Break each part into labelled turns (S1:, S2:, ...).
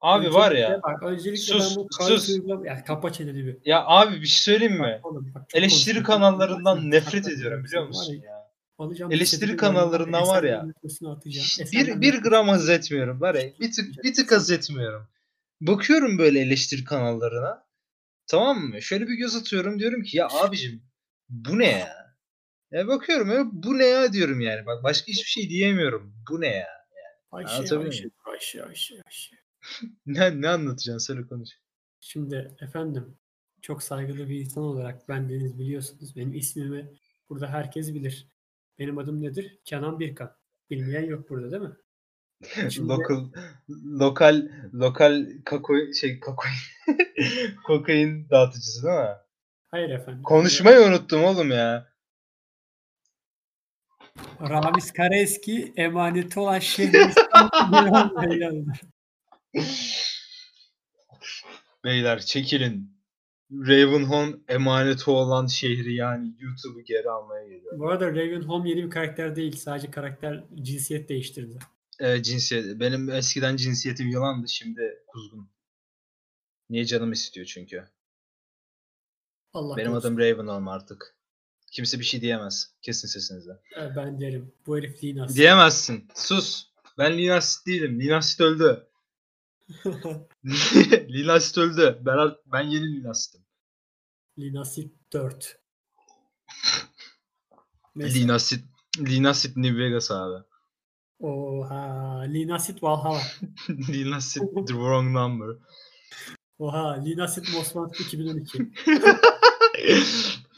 S1: Hani
S2: Abi var ya.
S1: Öncelikle bak, öncelikle
S2: Sus,
S1: ben bu
S2: sus.
S1: karşıyla ya kapa çeneni bir.
S2: Ya abi bir şey söyleyeyim mi?
S1: Oğlum bak çok
S2: Eleştiri
S1: konuşuyorsun.
S2: kanallarından nefret
S1: Bak, bak,
S2: ediyorum
S1: bak,
S2: biliyor
S1: var
S2: musun
S1: ya,
S2: ya?
S1: alacağım
S2: Eleştiri
S1: cesedi
S2: kanallarından
S1: yanına,
S2: var ya,
S1: Esenler'in yumurtasını atacağım.
S2: Bir,
S1: Esenler'in
S2: bir gram haz etmiyorum var ya. Bir tık, bir tık haz etmiyorum. Bakıyorum böyle eleştiri kanallarına. Tamam mı? Şöyle bir göz atıyorum diyorum ki ya abicim bu ne ya? Ya bakıyorum ya bu ne ya diyorum yani. Bak başka hiçbir şey diyemiyorum. Bu ne ya?
S1: Ayşe, Ayşe,
S2: Anlatabiliyor
S1: Ayşe,
S2: muyum?
S1: Ayşe, Ayşe.
S2: Ne, ne anlatacaksın? Söyle konuş.
S1: Şimdi efendim çok saygılı bir insan olarak ben Deniz biliyorsunuz. Benim ismimi burada herkes bilir. Benim adım nedir? Kenan Birkan. Bilmeyen yok burada değil mi? Şimdi-
S2: Lokal lokal lokal kako şey kakoin kokain dağıtıcısı değil mi?
S1: Hayır efendim.
S2: Konuşmayı unuttum oğlum ya.
S1: Ramiz Karaeski emaneti olan şehrin İstanbul'dan geldi.
S2: Beyler çekilin. Ravenholm emaneti olan şehri yani YouTube'u geri almaya geliyor.
S1: Bu arada Raven Home yeni bir karakter değil. Sadece karakter cinsiyet değiştirdi.
S2: Ee, cinsiyet. Benim eskiden cinsiyetim yılandı şimdi kuzgun. Niye canım istiyor çünkü.
S1: Allah
S2: Benim
S1: korusun.
S2: adım Ravenholm artık. Kimse bir şey diyemez. Kesin sesinizi.
S1: Ee, Ben derim. Bu herif Linas.
S2: Diyemezsin. Sus. Ben Linasit değilim. Linasit öldü. Linasit öldü. Ben, art- ben yeni Linasit'im.
S1: Linasit 4. Neyse.
S2: Linasit. Linasit New Vegas abi.
S1: Oha. Linasit Valhalla.
S2: Linasit the wrong number.
S1: Oha. Linasit Mosman 2012.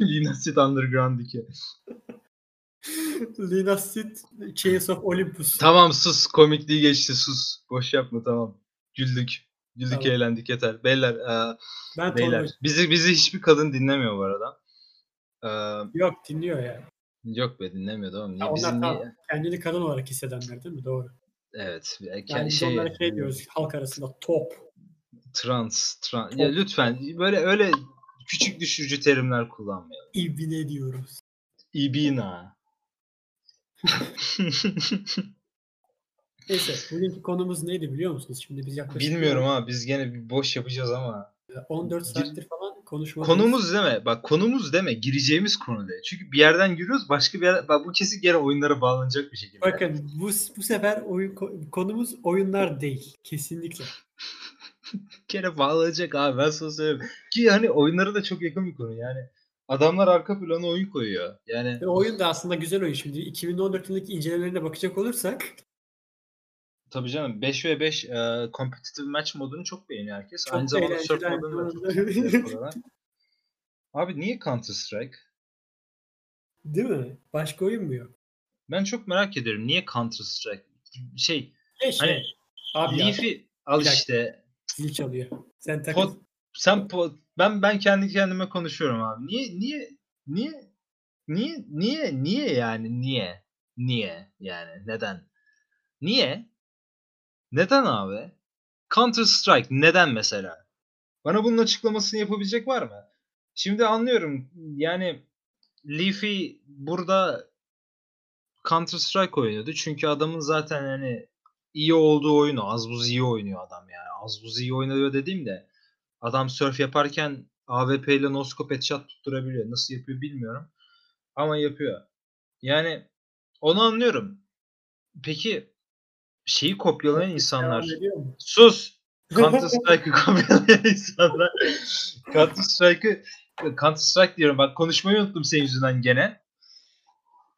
S2: Linasit Underground 2.
S1: Linasit Chains of Olympus.
S2: Tamam sus. Komikliği geçti. Sus. Boş yapma tamam. Güldük. Güldük
S1: Tamam.
S2: eğlendik yeter. Beyler, e,
S1: ben
S2: beyler.
S1: Beyler.
S2: Bizi bizi hiçbir kadın dinlemiyor bu arada. E,
S1: Yok dinliyor ya.
S2: yok be dinlemiyor tamam.
S1: Ha,
S2: Niye,
S1: onlar
S2: bizi
S1: tamam.
S2: niye?
S1: Kendini kadın olarak hissedenler değil mi? Doğru.
S2: Evet. Yani
S1: Yani biz
S2: şey,
S1: onlara şey diyoruz halk arasında top.
S2: trans, trans.
S1: Çok-
S2: Ya lütfen böyle öyle küçük düşürücü terimler kullanmayalım.
S1: İbne diyoruz.
S2: İbina.
S1: Neyse bugünkü konumuz neydi biliyor musunuz? Şimdi biz yaklaşık
S2: Bilmiyorum ha biz gene bir boş yapacağız ama.
S1: 14 saattir falan konuşmadık.
S2: Konumuz deme. Bak konumuz deme. Gireceğimiz konu de. Çünkü bir yerden giriyoruz başka bir yer. Bak bu kesin gene oyunlara bağlanacak bir şekilde.
S1: Bakın bu, bu sefer oyun ko- konumuz oyunlar değil. Kesinlikle.
S2: Gene bağlanacak abi ben sana söyleyeyim. Ki hani oyunlara da çok yakın bir konu yani. Adamlar arka plana oyun koyuyor. Yani
S1: Ve oyun da aslında güzel oyun şimdi. 2014 yılındaki incelemelerine bakacak olursak
S2: tabii canım 5 ve 5 e, competitive match modunu çok beğeniyor herkes.
S1: çok
S2: Aynı zamanda
S1: eğlenceli
S2: surf modunu da çok
S1: arkadaşlar.
S2: Yapıyorlar. Abi niye Counter Strike?
S1: Değil mi? Başka oyun mu yok?
S2: Ben çok merak ediyorum. Niye Counter Strike? Şey
S1: Keşke.
S2: hani
S1: Abi ya,
S2: Leaf'i al
S1: Bir dakika.
S2: işte.
S1: zil çalıyor. Sen takıl.
S2: Pot, sen po- ben ben kendi kendime konuşuyorum abi. Niye niye niye niye niye niye yani niye niye yani neden niye neden abi Counter Strike neden mesela bana bunun açıklamasını yapabilecek var mı? Şimdi anlıyorum yani Leafy burada Counter Strike oynuyordu çünkü adamın zaten hani iyi olduğu oyunu az buz iyi oynuyor adam yani az buz iyi oynuyor dediğim de adam surf yaparken AWP ile noskop headshot tutturabiliyor. Nasıl yapıyor bilmiyorum. Ama yapıyor. Yani onu anlıyorum. Peki şeyi kopyalayan insanlar.
S1: Devam ediyor mu?
S2: Sus! Counter Strike'ı kopyalayan insanlar. Counter Strike'ı Counter Strike diyorum. Bak konuşmayı unuttum senin yüzünden gene.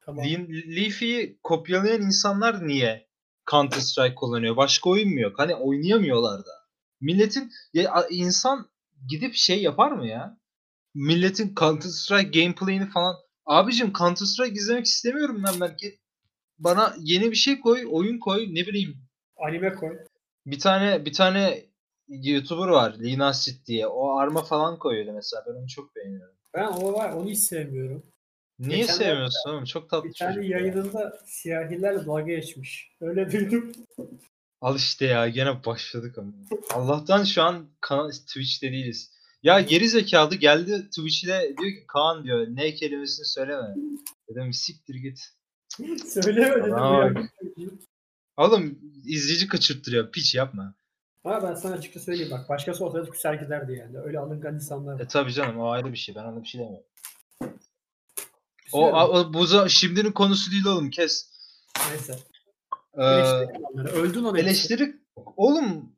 S1: Tamam.
S2: Lean- Leafy'yi kopyalayan insanlar niye Counter Strike kullanıyor? Başka oyun mu yok? Hani oynayamıyorlar da. Milletin ya a- insan gidip şey yapar mı ya? Milletin Counter Strike gameplay'ini falan. Abicim Counter Strike izlemek istemiyorum ben belki. Bana yeni bir şey koy, oyun koy, ne bileyim.
S1: Anime koy.
S2: Bir tane bir tane YouTuber var, Linasit diye. O arma falan koyuyordu mesela. Ben onu çok beğeniyorum.
S1: Ben o var onu hiç sevmiyorum.
S2: Niye
S1: Geçenlerde-
S2: sevmiyorsun oğlum? Çok tatlı
S1: Bir tane
S2: çocuk ya.
S1: yayınında siyahilerle dalga geçmiş. Öyle duydum.
S2: Al işte ya gene başladık ama. Allah'tan şu an Kaan- Twitch'te değiliz. Ya geri zekalı geldi Twitch'te diyor ki Kaan diyor ne kelimesini söyleme. Dedim siktir git.
S1: Söyleme dedim.
S2: Bana
S1: ya.
S2: Oğlum izleyici kaçırttırıyor piç yapma.
S1: Ama ben sana açıkça söyleyeyim bak. Başkası olsaydı küser giderdi yani. Öyle alıngan insanlar var.
S2: E tabii canım o ayrı bir şey. Ben ona bir şey demiyorum. O,
S1: Küsüyorum.
S2: o buza şimdinin konusu değil oğlum kes.
S1: Neyse.
S2: Ee,
S1: Eleştirin onları. Öldün onu. Eleştir.
S2: eleştiri oğlum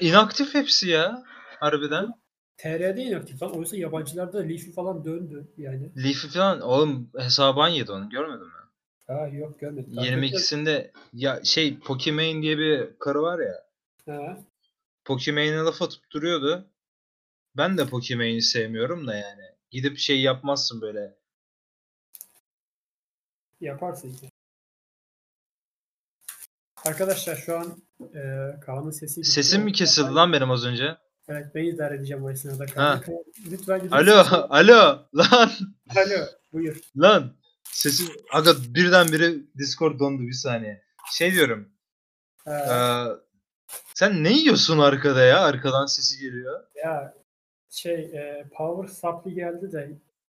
S2: inaktif hepsi ya harbiden.
S1: TR'de inaktif lan. Oysa yabancılarda Leafy falan döndü yani.
S2: Leafy falan oğlum hesabı yedi onu görmedin mi?
S1: Ha yok görmedim.
S2: 22'sinde ya şey Pokimane diye bir karı var ya.
S1: Ha.
S2: Pokimane'e laf atıp duruyordu. Ben de Pokimane'i sevmiyorum da yani. Gidip şey yapmazsın böyle.
S1: Yaparsın ki. Arkadaşlar şu an e, Kaan'ın sesi gitti.
S2: Sesim mi kesildi lan benim az önce?
S1: Evet ben idare edeceğim o esnada. Kaan.
S2: Ha.
S1: Kaan, Lütfen gidin.
S2: Alo, alo lan
S1: Alo. Buyur.
S2: lan. Sesim aga birdenbire Discord dondu bir saniye. Şey diyorum.
S1: Ha,
S2: Ee, sen ne yiyorsun arkada ya? Arkadan sesi geliyor.
S1: ya şey e, Power Supply geldi de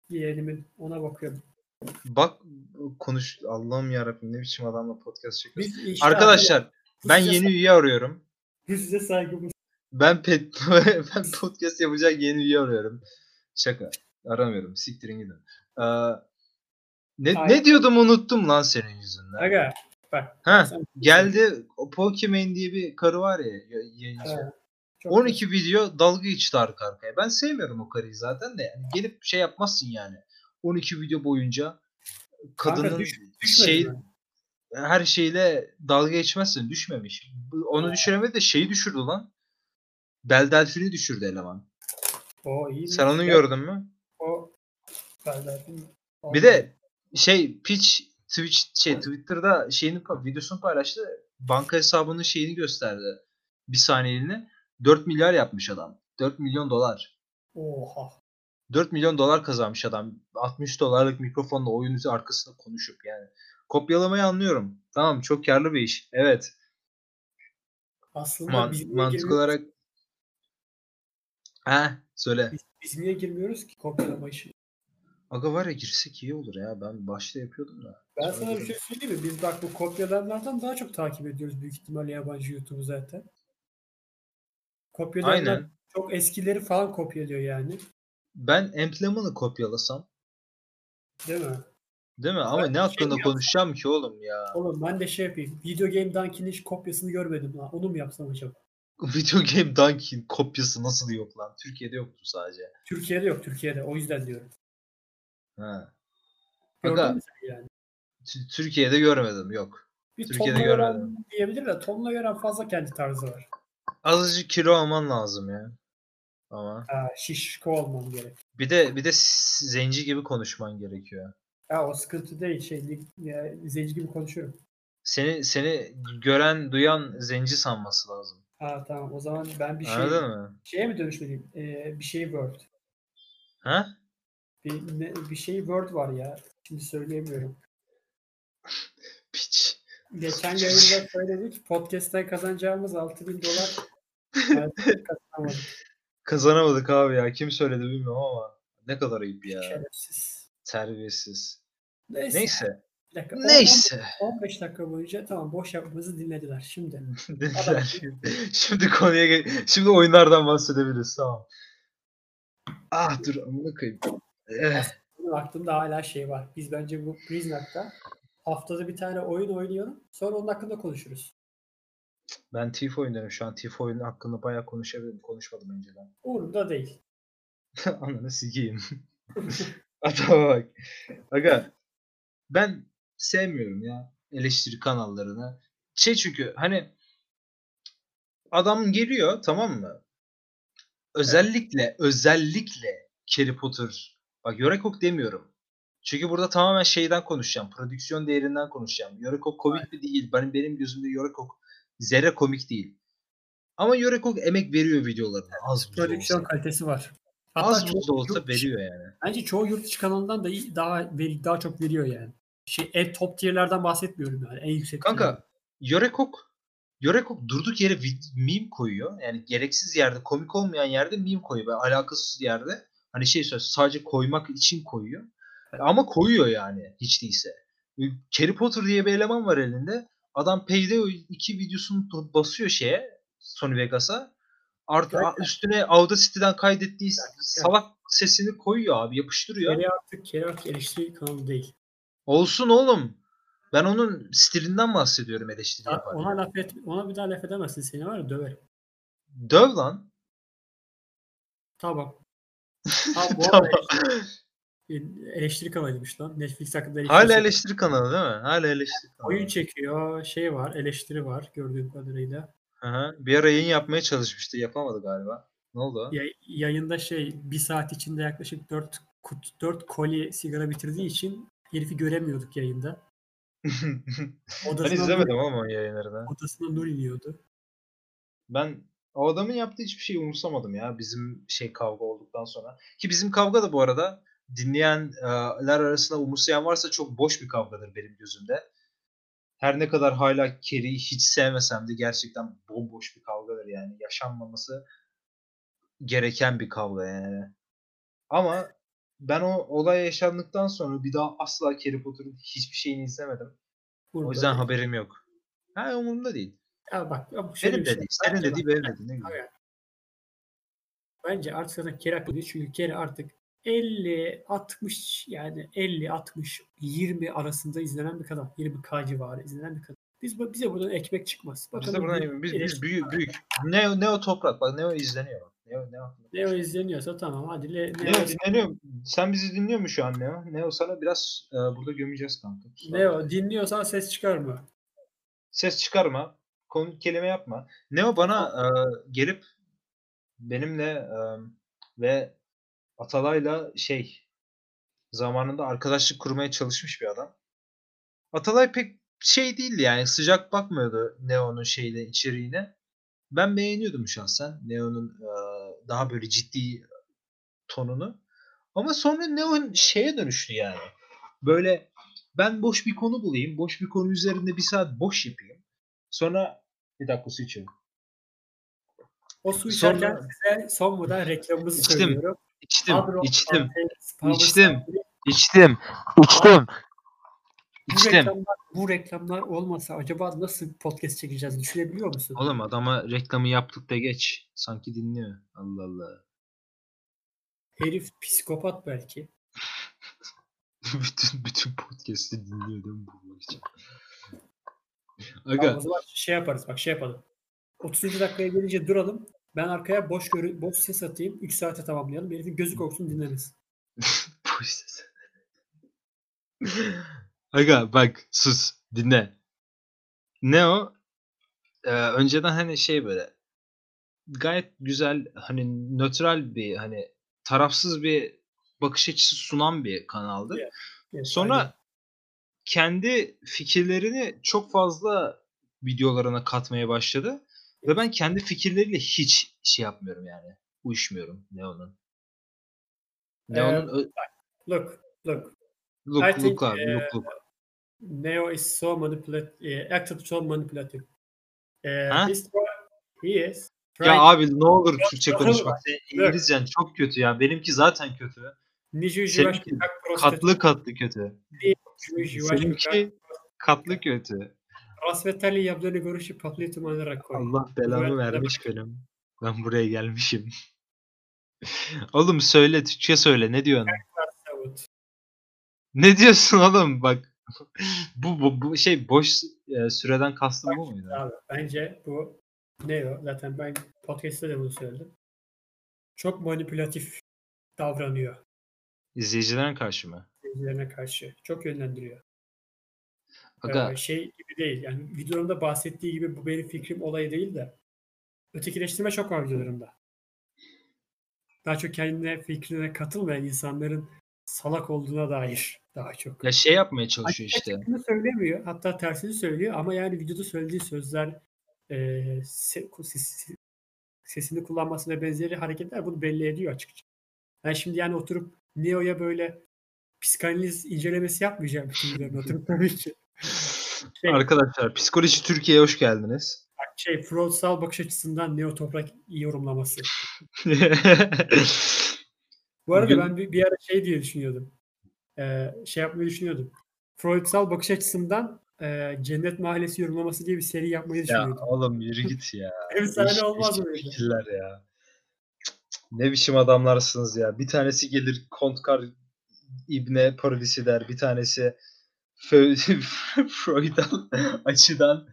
S1: yeğenimin ona bakıyorum.
S2: Bak konuş Allah'ım yarabbim ne biçim adamla podcast çekiyorsun.
S1: Biz işte
S2: Arkadaşlar
S1: bu
S2: ben
S1: size-
S2: yeni üye arıyorum.
S1: bu size saygımız.
S2: Ben pet ben podcast yapacak yeni üye arıyorum. Şaka. Aramıyorum. Siktirin gidin. Ee, ne,
S1: Hayır.
S2: ne diyordum unuttum lan senin yüzünden.
S1: Aga
S2: Ha
S1: sen-
S2: geldi o Pokimane diye bir karı var ya y- yayıncı.
S1: Evet, çok-
S2: 12 video dalga geçti arka arkaya. Ben sevmiyorum o karıyı zaten de yani gelip şey yapmazsın yani. 12 video boyunca
S1: Kanka
S2: kadının
S1: düş- düşmedi
S2: şey
S1: mi?
S2: her şeyle dalga geçmezsin. Düşmemiş. Bu- Onu düşüremedi de şeyi düşürdü lan. Bel delfini düşürdü eleman.
S1: O iyi.
S2: Sen onu
S1: Ya,
S2: gördün mü?
S1: O ben zaten-
S2: Bir de şey Pitch Twitch şey Twitter'da şeyini pa- videosunu paylaştı. Banka hesabının şeyini gösterdi. Bir saniyeliğine. 4 milyar yapmış adam. 4 milyon dolar.
S1: Oha.
S2: 4 milyon dolar kazanmış adam. 60 dolarlık mikrofonla oyun arkasında konuşup yani. Kopyalamayı anlıyorum. Tamam çok karlı bir iş. Evet.
S1: Aslında
S2: Man-
S1: biz niye
S2: mantık
S1: girmiyoruz-
S2: olarak Ha söyle.
S1: Biz, biz niye girmiyoruz ki kopyalama işi?
S2: Aga var ya girsek iyi olur ya. Ben başta yapıyordum da.
S1: Ben
S2: Sonra
S1: sana bir
S2: dedim,
S1: şey söyleyeyim mi? Biz bak bu kopyalanlardan daha çok takip ediyoruz büyük ihtimalle yabancı YouTube'u zaten. Kopyalanlar
S2: Aynen.
S1: çok eskileri falan kopyalıyor yani.
S2: Ben Emplement'ı kopyalasam
S1: Değil mi?
S2: değil mi? Ama
S1: Ben
S2: ne
S1: şey
S2: hakkında
S1: mi yapsam?
S2: konuşacağım ki oğlum ya?
S1: Oğlum ben de şey yapayım. Video Game Donkey'nin hiç kopyasını görmedim. Lan. Onu mu yapsam acaba?
S2: Video Game Donkey'in kopyası nasıl yok lan? Türkiye'de yoktu sadece.
S1: Türkiye'de yok Türkiye'de. O yüzden diyorum.
S2: Ha.
S1: Gördün
S2: Aga
S1: mü sen yani?
S2: Tü- Türkiye'de görmedim yok.
S1: Bir
S2: Türkiye'de
S1: Tom'la Gören
S2: görmedim.
S1: diyebilir de Tom'la Gören fazla kendi tarzı var.
S2: Azıcık kilo alman lazım ya. Ama
S1: Ha, şişko olmam gerek.
S2: bir de bir de s- zenci gibi konuşman gerekiyor.
S1: Ha, o sıkıntı değil. Şey, lig- ya, zenci gibi konuşuyorum.
S2: Seni seni gören duyan zenci sanması lazım.
S1: Ha tamam o zaman ben bir şey
S2: Anladın mı?
S1: şeye mi dönüşmeliyim? Ee, bir şey Word.
S2: Ha?
S1: Bir, ne- bir şey Word var ya. Şimdi söyleyemiyorum.
S2: Piç.
S1: Geçen yayında söyledik. Podcast'ten kazanacağımız 6000 dolar. maalesef kazanamadık.
S2: Kazanamadık abi ya. Kim söyledi bilmiyorum ama ne kadar ayıp
S1: Şey.
S2: ya.
S1: Şerefsiz.
S2: Terbiyesiz.
S1: Neyse.
S2: Neyse.
S1: bir dakika. On-
S2: Neyse.
S1: 15 dakika boyunca tamam boş yapmamızı dinlediler. Şimdi
S2: Dediler. Şimdi konuya gel- Şimdi oyunlardan bahsedebiliriz. Tamam. Ah dur amına koyayım. Eh,
S1: benim aklımda hala şey var. Biz bence bu Priznak'ta haftada bir tane oyun oynayalım. Sonra onun hakkında konuşuruz.
S2: Ben Tif oynarım şu an. Tif oyunu hakkında bayağı konuşabilirim. Konuşmadım önceden.
S1: Umurumda değil.
S2: Ananı sikeyim. Adama bak. Aga ben sevmiyorum ya eleştiri kanallarını. Şey çünkü hani adam geliyor tamam mı? Özellikle özellikle Harry Potter. Bak Yorekok demiyorum. Çünkü burada tamamen şeyden konuşacağım. Prodüksiyon değerinden konuşacağım. Yorekok komik mi değil. Benim, benim gözümde Yorekok zerre komik değil. Ama Yorekok emek veriyor videolarına. Az buz olsa.
S1: Prodüksiyon kalitesi var.
S2: Az
S1: çok- şey.
S2: buz da olsa
S1: çok-
S2: veriyor yani.
S1: Bence çoğu yurt içi kanalından da iyi, daha veri- daha çok veriyor yani. Şey en top tier'lerden bahsetmiyorum yani en yüksek. tier'lerden.
S2: Kanka Yörekok Yörekok durduk yere vid- meme koyuyor. Yani gereksiz yerde, komik olmayan yerde meme koyuyor. Böyle alakasız yerde. Hani şey söz sadece koymak için koyuyor. Ama koyuyor yani hiç değilse. Ee, Harry Potter diye bir eleman var elinde. Adam Payday 2 videosunu basıyor şeye Sony Vegas'a. Artı üstüne Audacity'den kaydettiği salak sesini koyuyor abi yapıştırıyor.
S1: Kere artık, kere artık eleştiri kanalı değil.
S2: Olsun oğlum. Ben onun stilinden bahsediyorum eleştiri
S1: Ya
S2: yaparken.
S1: Ona laf et, ona bir daha laf edemezsin. Seni var ya döver.
S2: Döv lan.
S1: Tamam. Ha, bu
S2: Tamam.
S1: arada eleştiri, eleştiri kanalıymış lan. Netflix hakkında eleştiri.
S2: Hala
S1: çekiyor.
S2: eleştiri kanalı değil mi? Hala eleştiri kanalı.
S1: Oyun çekiyor. Şey var. Eleştiri var. Gördüğüm kadarıyla.
S2: Hı hı. Bir ara yayın yapmaya çalışmıştı. Yapamadı galiba. Ne oldu?
S1: Ya- yayında şey bir saat içinde yaklaşık 4 kut, 4 kolye sigara bitirdiği için herifi göremiyorduk yayında.
S2: ben
S1: Odasına, nur,
S2: izlemedim ama yayınlarını.
S1: odasına nur iniyordu.
S2: Ben o adamın yaptığı hiçbir şeyi umursamadım ya bizim şey kavga olduktan sonra. Ki bizim kavga da bu arada dinleyenler arasında umursayan varsa çok boş bir kavgadır benim gözümde. Her ne kadar hala Kerry'i hiç sevmesem de gerçekten bomboş bir kavgadır yani. Yaşanmaması gereken bir kavga yani. Ama ben o olay yaşandıktan sonra bir daha asla Kerry Potter'ın hiçbir şeyini izlemedim. O
S1: Burada-
S2: yüzden haberim yok. Ha umurumda değil.
S1: Ya bak ya bu şöyle
S2: Benim
S1: bir şey.
S2: dedi. Senin
S1: Bence
S2: dedi, benim dedi. Ne güzel.
S1: Hayır. Bence artık zaten kere hakkı değil. Çünkü kere artık 50, 60 yani 50, 60, 20 arasında izlenen bir kanal. 20K civarı izlenen bir kanal. Biz, bu- bize buradan ekmek çıkmaz.
S2: Biz de
S1: Bakalım
S2: buradan
S1: bir
S2: yapıyoruz. biz, biz
S1: eleştiri-
S2: büyük büyük. Neo Neo toprak bak Neo izleniyor bak. Neo Neo.
S1: Leo izleniyorsa tamam hadi. Le, Leo,
S2: Neo dinleniyor. Sen bizi dinliyor mu şu an Neo? Neo sana biraz e, burada gömeceğiz kanka.
S1: Leo dinliyorsan ses çıkarma.
S2: Ses çıkarma. Konu kelime yapma. Neo bana e, gelip benimle e, ve Atalay'la şey zamanında arkadaşlık kurmaya çalışmış bir adam. Atalay pek şey değildi yani sıcak bakmıyordu Neo'nun şeyle içeriğine. Ben beğeniyordum şahsen Neo'nun e, daha böyle ciddi tonunu. Ama sonra Neo şeye dönüştü yani. Böyle ben boş bir konu bulayım, boş bir konu üzerinde bir saat boş yapayım. Sonra bir dakika su içiyorum.
S1: O su
S2: Sonra-
S1: içerken size sonmadan reklamımızı
S2: İçtim,
S1: söylüyorum.
S2: İçtim,
S1: Adro,
S2: içtim,
S1: Antes, Power
S2: içtim,
S1: Star-
S2: içtim, içtim,
S1: Bu
S2: içtim.
S1: reklamlar, bu reklamlar olmasa acaba nasıl podcast çekeceğiz düşünebiliyor musun?
S2: Oğlum adama reklamı yaptık da geç. Sanki dinliyor. Allah Allah.
S1: Herif psikopat belki.
S2: bütün bütün podcast'i dinliyor değil mi bulmak için?
S1: Tamam, o
S2: Aga
S1: zaman şey yaparız bak şey yapalım. 30. dakikaya gelince duralım. Ben arkaya boş görü boş ses atayım. 3 saate tamamlayalım. Herifin gözü korksun dinleriz.
S2: boş ses. Aga bak sus dinle. Ne o? Ee, önceden hani şey böyle gayet güzel hani nötral bir hani tarafsız bir bakış açısı sunan bir kanaldı.
S1: Yeah. Evet, aynen.
S2: Sonra kendi fikirlerini çok fazla videolarına katmaya başladı. Ve ben kendi fikirleriyle hiç şey yapmıyorum yani. Uyuşmuyorum Neon'un. Neon'un ö-
S1: look look
S2: look,
S1: I
S2: look
S1: think,
S2: abi look
S1: eh,
S2: look.
S1: Neo is so manipulative. acted so manipulative. Eh,
S2: Ha?
S1: he's try- he is
S2: Ya
S1: trying
S2: abi ne olur Türkçe
S1: look,
S2: konuşmak. Senin İngilizcen çok kötü ya. Benimki zaten kötü.
S1: Niju
S2: seninki
S1: Jivashkikak
S2: şey, Katlı şey- katlı kötü.
S1: Jivashkikak
S2: Seninki katlı kötü.
S1: Rasvetali yaptığını görüşü patlıyı olarak koy.
S2: Allah
S1: Evet,
S2: belamı vermiş benim. Ben buraya gelmişim. Oğlum söyle Türkçe söyle ne diyorsun?
S1: Evet.
S2: Ne diyorsun oğlum bak. bu, bu, bu şey boş e, süreden kastım bu muydu?
S1: Abi bence bu Neo zaten ben podcast'te de bunu söyledim. Çok manipülatif davranıyor
S2: İzleyicilerin karşı mı?
S1: izleyicilerine karşı. Çok yönlendiriyor.
S2: Aga
S1: Ee, şey gibi değil. Yani videolarımda bahsettiği gibi bu benim fikrim olayı değil de ötekileştirme çok var videolarımda. Daha çok kendine fikrine katılmayan insanların salak olduğuna dair daha çok.
S2: ya şey yapmaya çalışıyor işte.
S1: Hakikaten Bunu söylemiyor. Hatta tersini söylüyor ama yani videoda söylediği sözler e, se- ku- ses- se- sesini kullanması ve benzeri hareketler bunu belli ediyor açıkça. Ben şimdi yani oturup Neo'ya böyle psikanaliz incelemesi yapmayacağım bütün videolarını oturup tabii ki. Şey,
S2: Arkadaşlar Psikoloji Türkiye'ye hoş geldiniz.
S1: şey Freudsal bakış açısından Neo Toprak iyi yorumlaması. Bu arada
S2: Bugün-
S1: ben bir, E, bir ara şey diye düşünüyordum. Ee, şey yapmayı düşünüyordum. Freudsal bakış açısından e, Cennet Mahallesi yorumlaması diye bir seri yapmayı
S2: Ya
S1: düşünüyordum.
S2: oğlum yürü git ya.
S1: Efsane
S2: Değişik değişik
S1: olmaz mıydı?
S2: fikirler ya. Cık, cık, Ne biçim adamlarsınız ya. Bir tanesi gelir Kontkar İbne parodisi der. Bir tanesi Fö- Freud'dan açıdan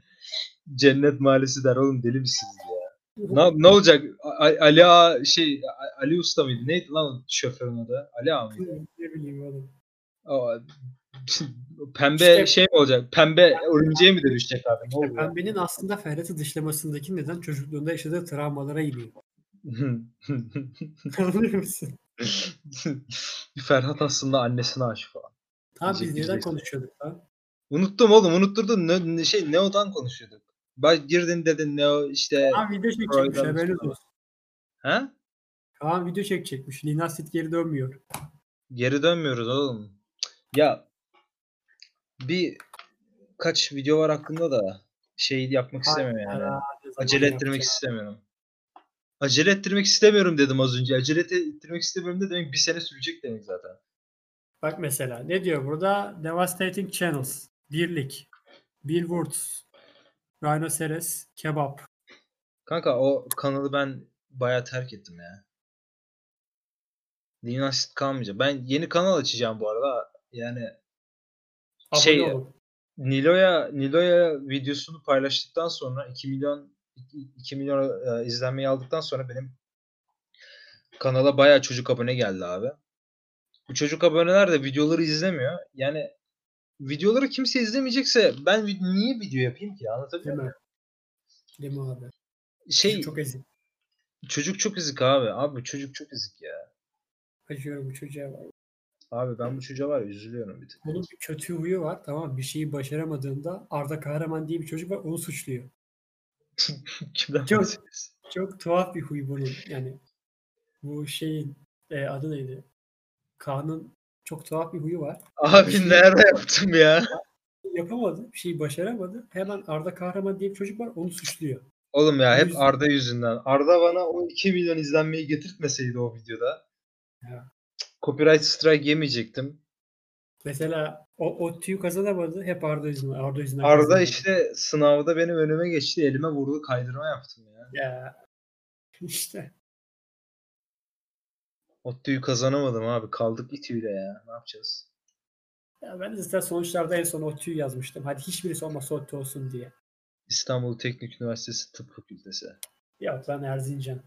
S2: Cennet Mahallesi der. Oğlum deli misiniz ya? Ne, ne olacak? A- A- Ali Ağa şey A- Ali Usta mıydı? Neydi lan o şoförün adı? Ali Ağa mıydı?
S1: ne bileyim oğlum.
S2: Aa, Pembe
S1: İşte-
S2: şey mi olacak? Pembe örümceğe mi dönüşecek abi? Ne
S1: İşte
S2: oluyor?
S1: pembenin aslında Ferhat'ı dışlamasındaki neden çocukluğunda yaşadığı travmalara iniyor. Anlıyor musun?
S2: Ferhat aslında annesine aşık falan.
S1: Tamam biz
S2: Diyecek
S1: neden
S2: bir şey.
S1: konuşuyorduk lan?
S2: Unuttum oğlum unutturdun. Ne, ne- şey Neo'dan konuşuyorduk. Bak girdin dedin Neo işte.
S1: Kaan video çekecekmiş
S2: Freud'dan
S1: haberiniz
S2: çıkan.
S1: olsun.
S2: Ha?
S1: Kaan video çekecekmiş. Linasit geri dönmüyor.
S2: Geri dönmüyoruz oğlum. Ya bir kaç video var hakkında da şey yapmak istemiyorum yani.
S1: Herhalde zaman
S2: Acele ettirmek
S1: yapacak.
S2: istemiyorum. Acele ettirmek istemiyorum dedim az önce. Acele et- ettirmek istemiyorum de demek bir sene sürecek demek zaten.
S1: Bak mesela ne diyor burada? Devastating Channels, Birlik, Billboards, Rhinoceros, Kebap.
S2: Kanka o kanalı ben bayağı terk ettim ya. Dinasit kalmayacak. Ben yeni kanal açacağım bu arada. Yani
S1: Abone
S2: Şey-
S1: olun.
S2: Nilo'ya Nilo'ya videosunu paylaştıktan sonra 2 milyon 2 milyon e, izlenmeyi aldıktan sonra benim kanala bayağı çocuk abone geldi abi. Bu çocuk aboneler de videoları izlemiyor. Yani videoları kimse izlemeyecekse ben vid- niye video yapayım ki? Anlatabiliyor
S1: Değil
S2: muyum?
S1: mi? Değil mi abi?
S2: Şey
S1: Çok ezik.
S2: çocuk çok ezik abi. Abi çocuk çok ezik ya.
S1: Acıyorum bu çocuğa var.
S2: Abi ben bu çocuğa var ya, üzülüyorum bir tık.
S1: Bunun bir kötü huyu var tamam mı? Bir şeyi başaramadığında Arda Kahraman diye bir çocuk var onu suçluyor.
S2: Kimden
S1: Çok-
S2: bahsediyorsun?
S1: Çok tuhaf bir huy bunun. Yani bu şeyin e, adı neydi? Kaan'ın çok tuhaf bir huyu var.
S2: Abi nerede yaptım ya?
S1: Yapamadı. Bir şeyi başaramadı. Hemen Arda Kahraman diye bir çocuk var onu suçluyor.
S2: Oğlum ya hep
S1: Yüz-
S2: Arda yüzünden. Arda bana o 2 milyon izlenmeyi getirtmeseydi o videoda.
S1: Ya.
S2: Copyright strike yemeyecektim.
S1: Mesela o, o tüyü kazanamadı. Hep Arda yüzünden. Arda yüzünden
S2: Arda
S1: kazanamadı.
S2: işte sınavda benim önüme geçti. Elime vurdu kaydırma yaptım ya.
S1: Ya. İşte.
S2: Ottu'yu kazanamadım abi. Kaldık itüyle ya. Ne yapacağız?
S1: Ya ben de zaten sonuçlarda en son o tüyü yazmıştım. Hadi hiçbirisi olmasa o tüy olsun diye.
S2: İstanbul Teknik Üniversitesi Tıp Fakültesi.
S1: Yok lan Erzincan.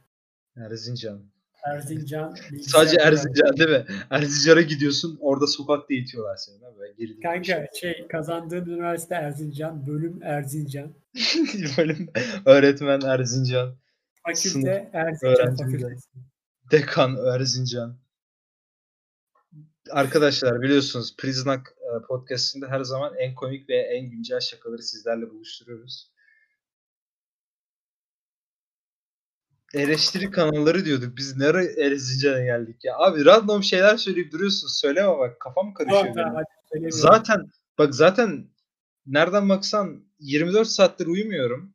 S2: Erzincan.
S1: Erzincan. bilgisayar
S2: Sadece
S1: mühendisliği.
S2: Erzincan değil mi? Erzincan'a gidiyorsun. Orada sokakta itiyorlar seni. Abi. Böyle gerilim bir
S1: Kanka
S2: şey.
S1: şey kazandığım üniversite Erzincan, bölüm Erzincan,
S2: Bölüm öğretmen Erzincan.
S1: fakülte
S2: Sınıf
S1: Erzincan
S2: öğrenciyim
S1: fakültesi.
S2: Dekan Erzincan. Arkadaşlar biliyorsunuz Priznak e, podcast'inde her zaman en komik ve en güncel şakaları sizlerle buluşturuyoruz. Eleştiri kanalları diyorduk. Biz nereye Erzincan'a geldik ya? Abi random şeyler söyleyip duruyorsun. Söyleme bak kafam karışıyor
S1: Tamam,
S2: benim.
S1: tamam, hadi söylemiyorum.
S2: şey Zaten bak zaten nereden baksan 24 saattir uyumuyorum.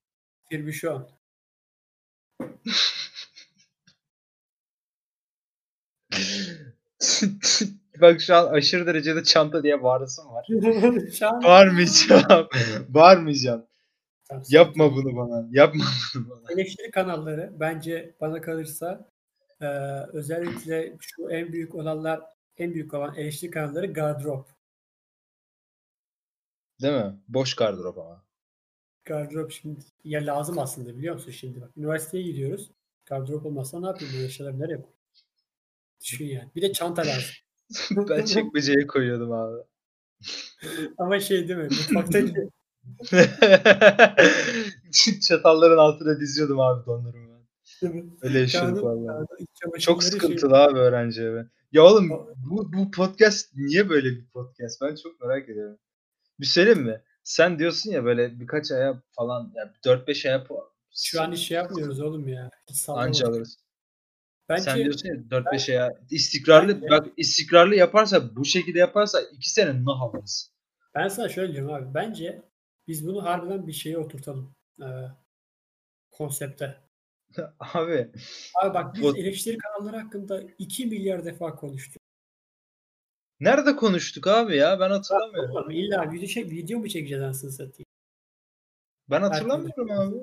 S1: bir bir şu an.
S2: bak şu an aşırı derecede çanta diye bağırasım var.
S1: şu an
S2: Bağırmayacağım. Bağırmayacağım.
S1: Tamam,
S2: Yapma bunu bana. Yapma bunu bana.
S1: Eleştiri kanalları bence bana kalırsa e, özellikle şu en büyük olanlar en büyük olan eleştiri kanalları gardrop.
S2: Değil mi? Boş gardırop ama.
S1: Gardrop şimdi ya lazım aslında biliyor musun şimdi bak üniversiteye gidiyoruz. Gardrop olmasa ne yapayım bu yaşlarım nereye koyayım? Düşün yani. Bir de çanta lazım.
S2: ben çekmeceye koyuyordum abi.
S1: Ama şey değil mi? Mutfaktaki
S2: Çatalların altına diziyordum abi donlarımı. ben. Öyle yaşıyorduk
S1: Kanun-
S2: vallahi.
S1: iç çamaşırları
S2: Çok
S1: şey-
S2: sıkıntılı abi öğrenci evi. Ya oğlum bu, bu podcast niye böyle bir podcast? Ben çok merak ediyorum. Bir söyleyeyim mi? Sen diyorsun ya böyle birkaç aya falan, ya 4-5 aya po-
S1: Şu an hiç şey yapmıyoruz oğlum ya. Hiç sallamadık.
S2: anca alırız.
S1: Bence
S2: Sen diyorsun ya 4-5 şey ya. İstikrarlı
S1: Bence-
S2: bak istikrarlı yaparsa bu şekilde yaparsa 2 sene ne alırız?
S1: ben sana şöyle diyorum abi. Bence biz bunu harbiden bir şeye oturtalım. Ee, konsepte.
S2: Abi
S1: Abi bak biz
S2: Bu-
S1: eleştiri kanalları hakkında 2 milyar defa konuştuk.
S2: Nerede konuştuk abi ya? Ben hatırlamıyorum.
S1: Oğlum illa video, çek, video mu çekeceğiz anasını satayım?
S2: Ben hatırlamıyorum abi.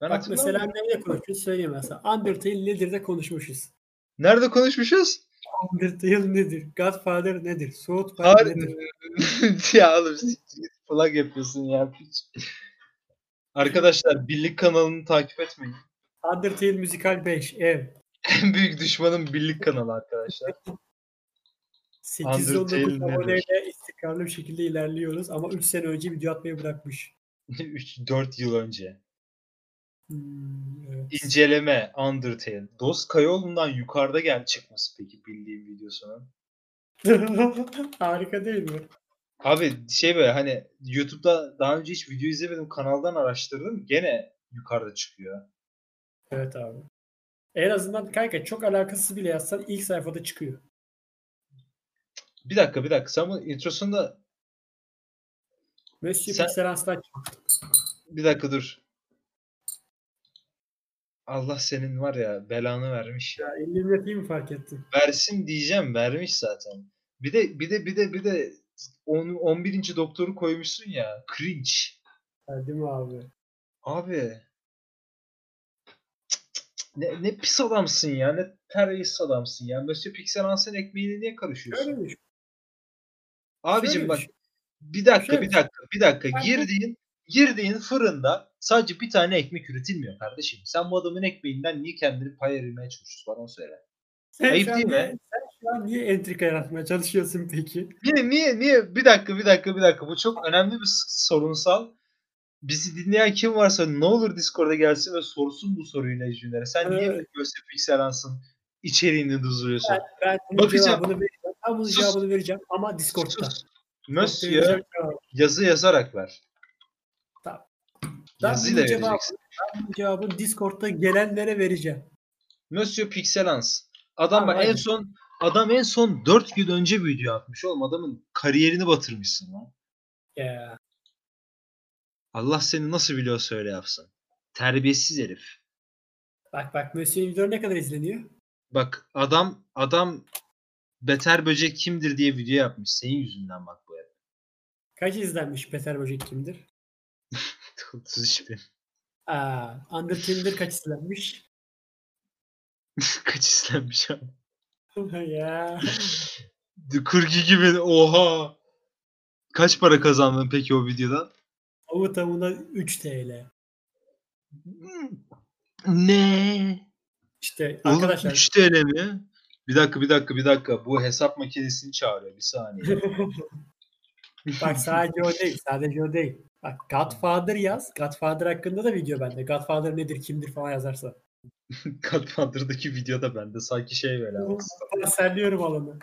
S2: Ben
S1: Bak mesela
S2: hatırlamıyorum.
S1: nerede konuşmuşuz söyleyeyim mesela. Undertale nedir de konuşmuşuz.
S2: Nerede konuşmuşuz?
S1: Undertale nedir? Godfather nedir? South Park
S2: Har-
S1: nedir?
S2: ya oğlum plug yapıyorsun ya. piç. Arkadaşlar birlik kanalını takip etmeyin.
S1: Undertale Musical 5, Ev,
S2: En büyük düşmanım birlik kanalı arkadaşlar.
S1: 819
S2: nedir?
S1: aboneyle istikrarlı bir şekilde ilerliyoruz ama 3 sene önce video atmayı bırakmış.
S2: 3-4 yıl önce.
S1: Hmm, evet.
S2: İnceleme Undertale. Dost Kayaoğlu'ndan yukarıda gel çıkması peki bildiğim videosunun.
S1: Harika değil mi?
S2: Abi şey böyle hani YouTube'da daha önce hiç video izlemedim kanaldan araştırdım gene yukarıda çıkıyor.
S1: Evet abi. En azından kanka çok alakasız bile yazsan ilk sayfada çıkıyor.
S2: Bir dakika bir dakika sen bu introsunda
S1: Monsieur
S2: Sen-
S1: Pixel Aslan
S2: bir dakika dur. Allah senin var ya belanı vermiş ya.
S1: ya. Elini yapayım fark ettim.
S2: Versin diyeceğim vermiş zaten. Bir de bir de bir de bir de on- 11. doktoru koymuşsun ya. Cringe.
S1: Ha, değil mi abi?
S2: Abi. Ne, ne pis adamsın ya. Ne terbiyesiz adamsın ya. Monsieur Pixel Hansen ekmeğine niye karışıyorsun?
S1: Şöyle düşün.
S2: Abicim
S1: şöyle
S2: bak
S1: düşün.
S2: bir dakika
S1: şöyle
S2: bir
S1: düşün.
S2: dakika bir dakika.
S1: Ben-
S2: Girdiğin girdiğin fırında sadece bir tane ekmek üretilmiyor kardeşim. Sen bu adamın ekmeğinden niye kendini pay ayırmaya çalışıyorsun? Bana söyle.
S1: Sen
S2: Ayıp
S1: şu an
S2: değil mi?
S1: niye- Sen şu an niye entrika yaratmaya çalışıyorsun peki?
S2: Niye niye niye bir dakika bir dakika bir dakika bu çok önemli bir s- sorunsal. Bizi dinleyen kim varsa ne olur Discord'a gelsin ve sorsun bu soruyu Necmi'lere. Sen niye
S1: Evet.
S2: Göztepe Pixelans'ın içeriğini duzuruyorsun?
S1: Ben bunun
S2: Bakacağım.
S1: cevabını vereceğim. Ben bunun
S2: Sus.
S1: cevabını vereceğim ama Discord'da.
S2: Sus.
S1: Discord'da
S2: Monsieur
S1: vereceğim cevabı.
S2: yazı yazarak ver.
S1: Tamam. Ben
S2: Yazıyla
S1: bunun cevabını,
S2: vereceksin.
S1: ben bunun cevabını Discord'da gelenlere vereceğim.
S2: Monsieur Pixelans. Adam
S1: Tamam,
S2: bak en
S1: hadi.
S2: son adam en son 4 gün önce video atmış oğlum. Adamın kariyerini batırmışsın lan.
S1: Ya.
S2: Allah seni nasıl biliyorsa öyle yapsın. Terbiyesiz herif.
S1: Bak bak Monsieur'in videoları ne kadar izleniyor?
S2: Bak adam adam beter böcek kimdir diye video yapmış. Senin yüzünden bak bu herif.
S1: Kaç izlenmiş Peter Böcek kimdir?
S2: 33 bin.
S1: Aa, Undertale'dir kaç izlenmiş?
S2: Kaç izlenmiş abi?
S1: ya.
S2: 42 bin. Oha. Kaç para kazandın peki o videodan?
S1: Avu tamına 3 TL.
S2: Ne?
S1: İşte
S2: Oğlum
S1: arkadaşlar
S2: 3 TL mi? Bir dakika bir dakika bir dakika. Bu hesap makinesini çağırıyor. Bir saniye.
S1: bak sadece o değil. Sadece o değil. Bak Godfather yaz. Godfather hakkında da video bende. Godfather nedir kimdir falan yazarsa.
S2: Godfather'daki video da bende. Sanki şey böyle. abi.
S1: Parselliyorum alanı.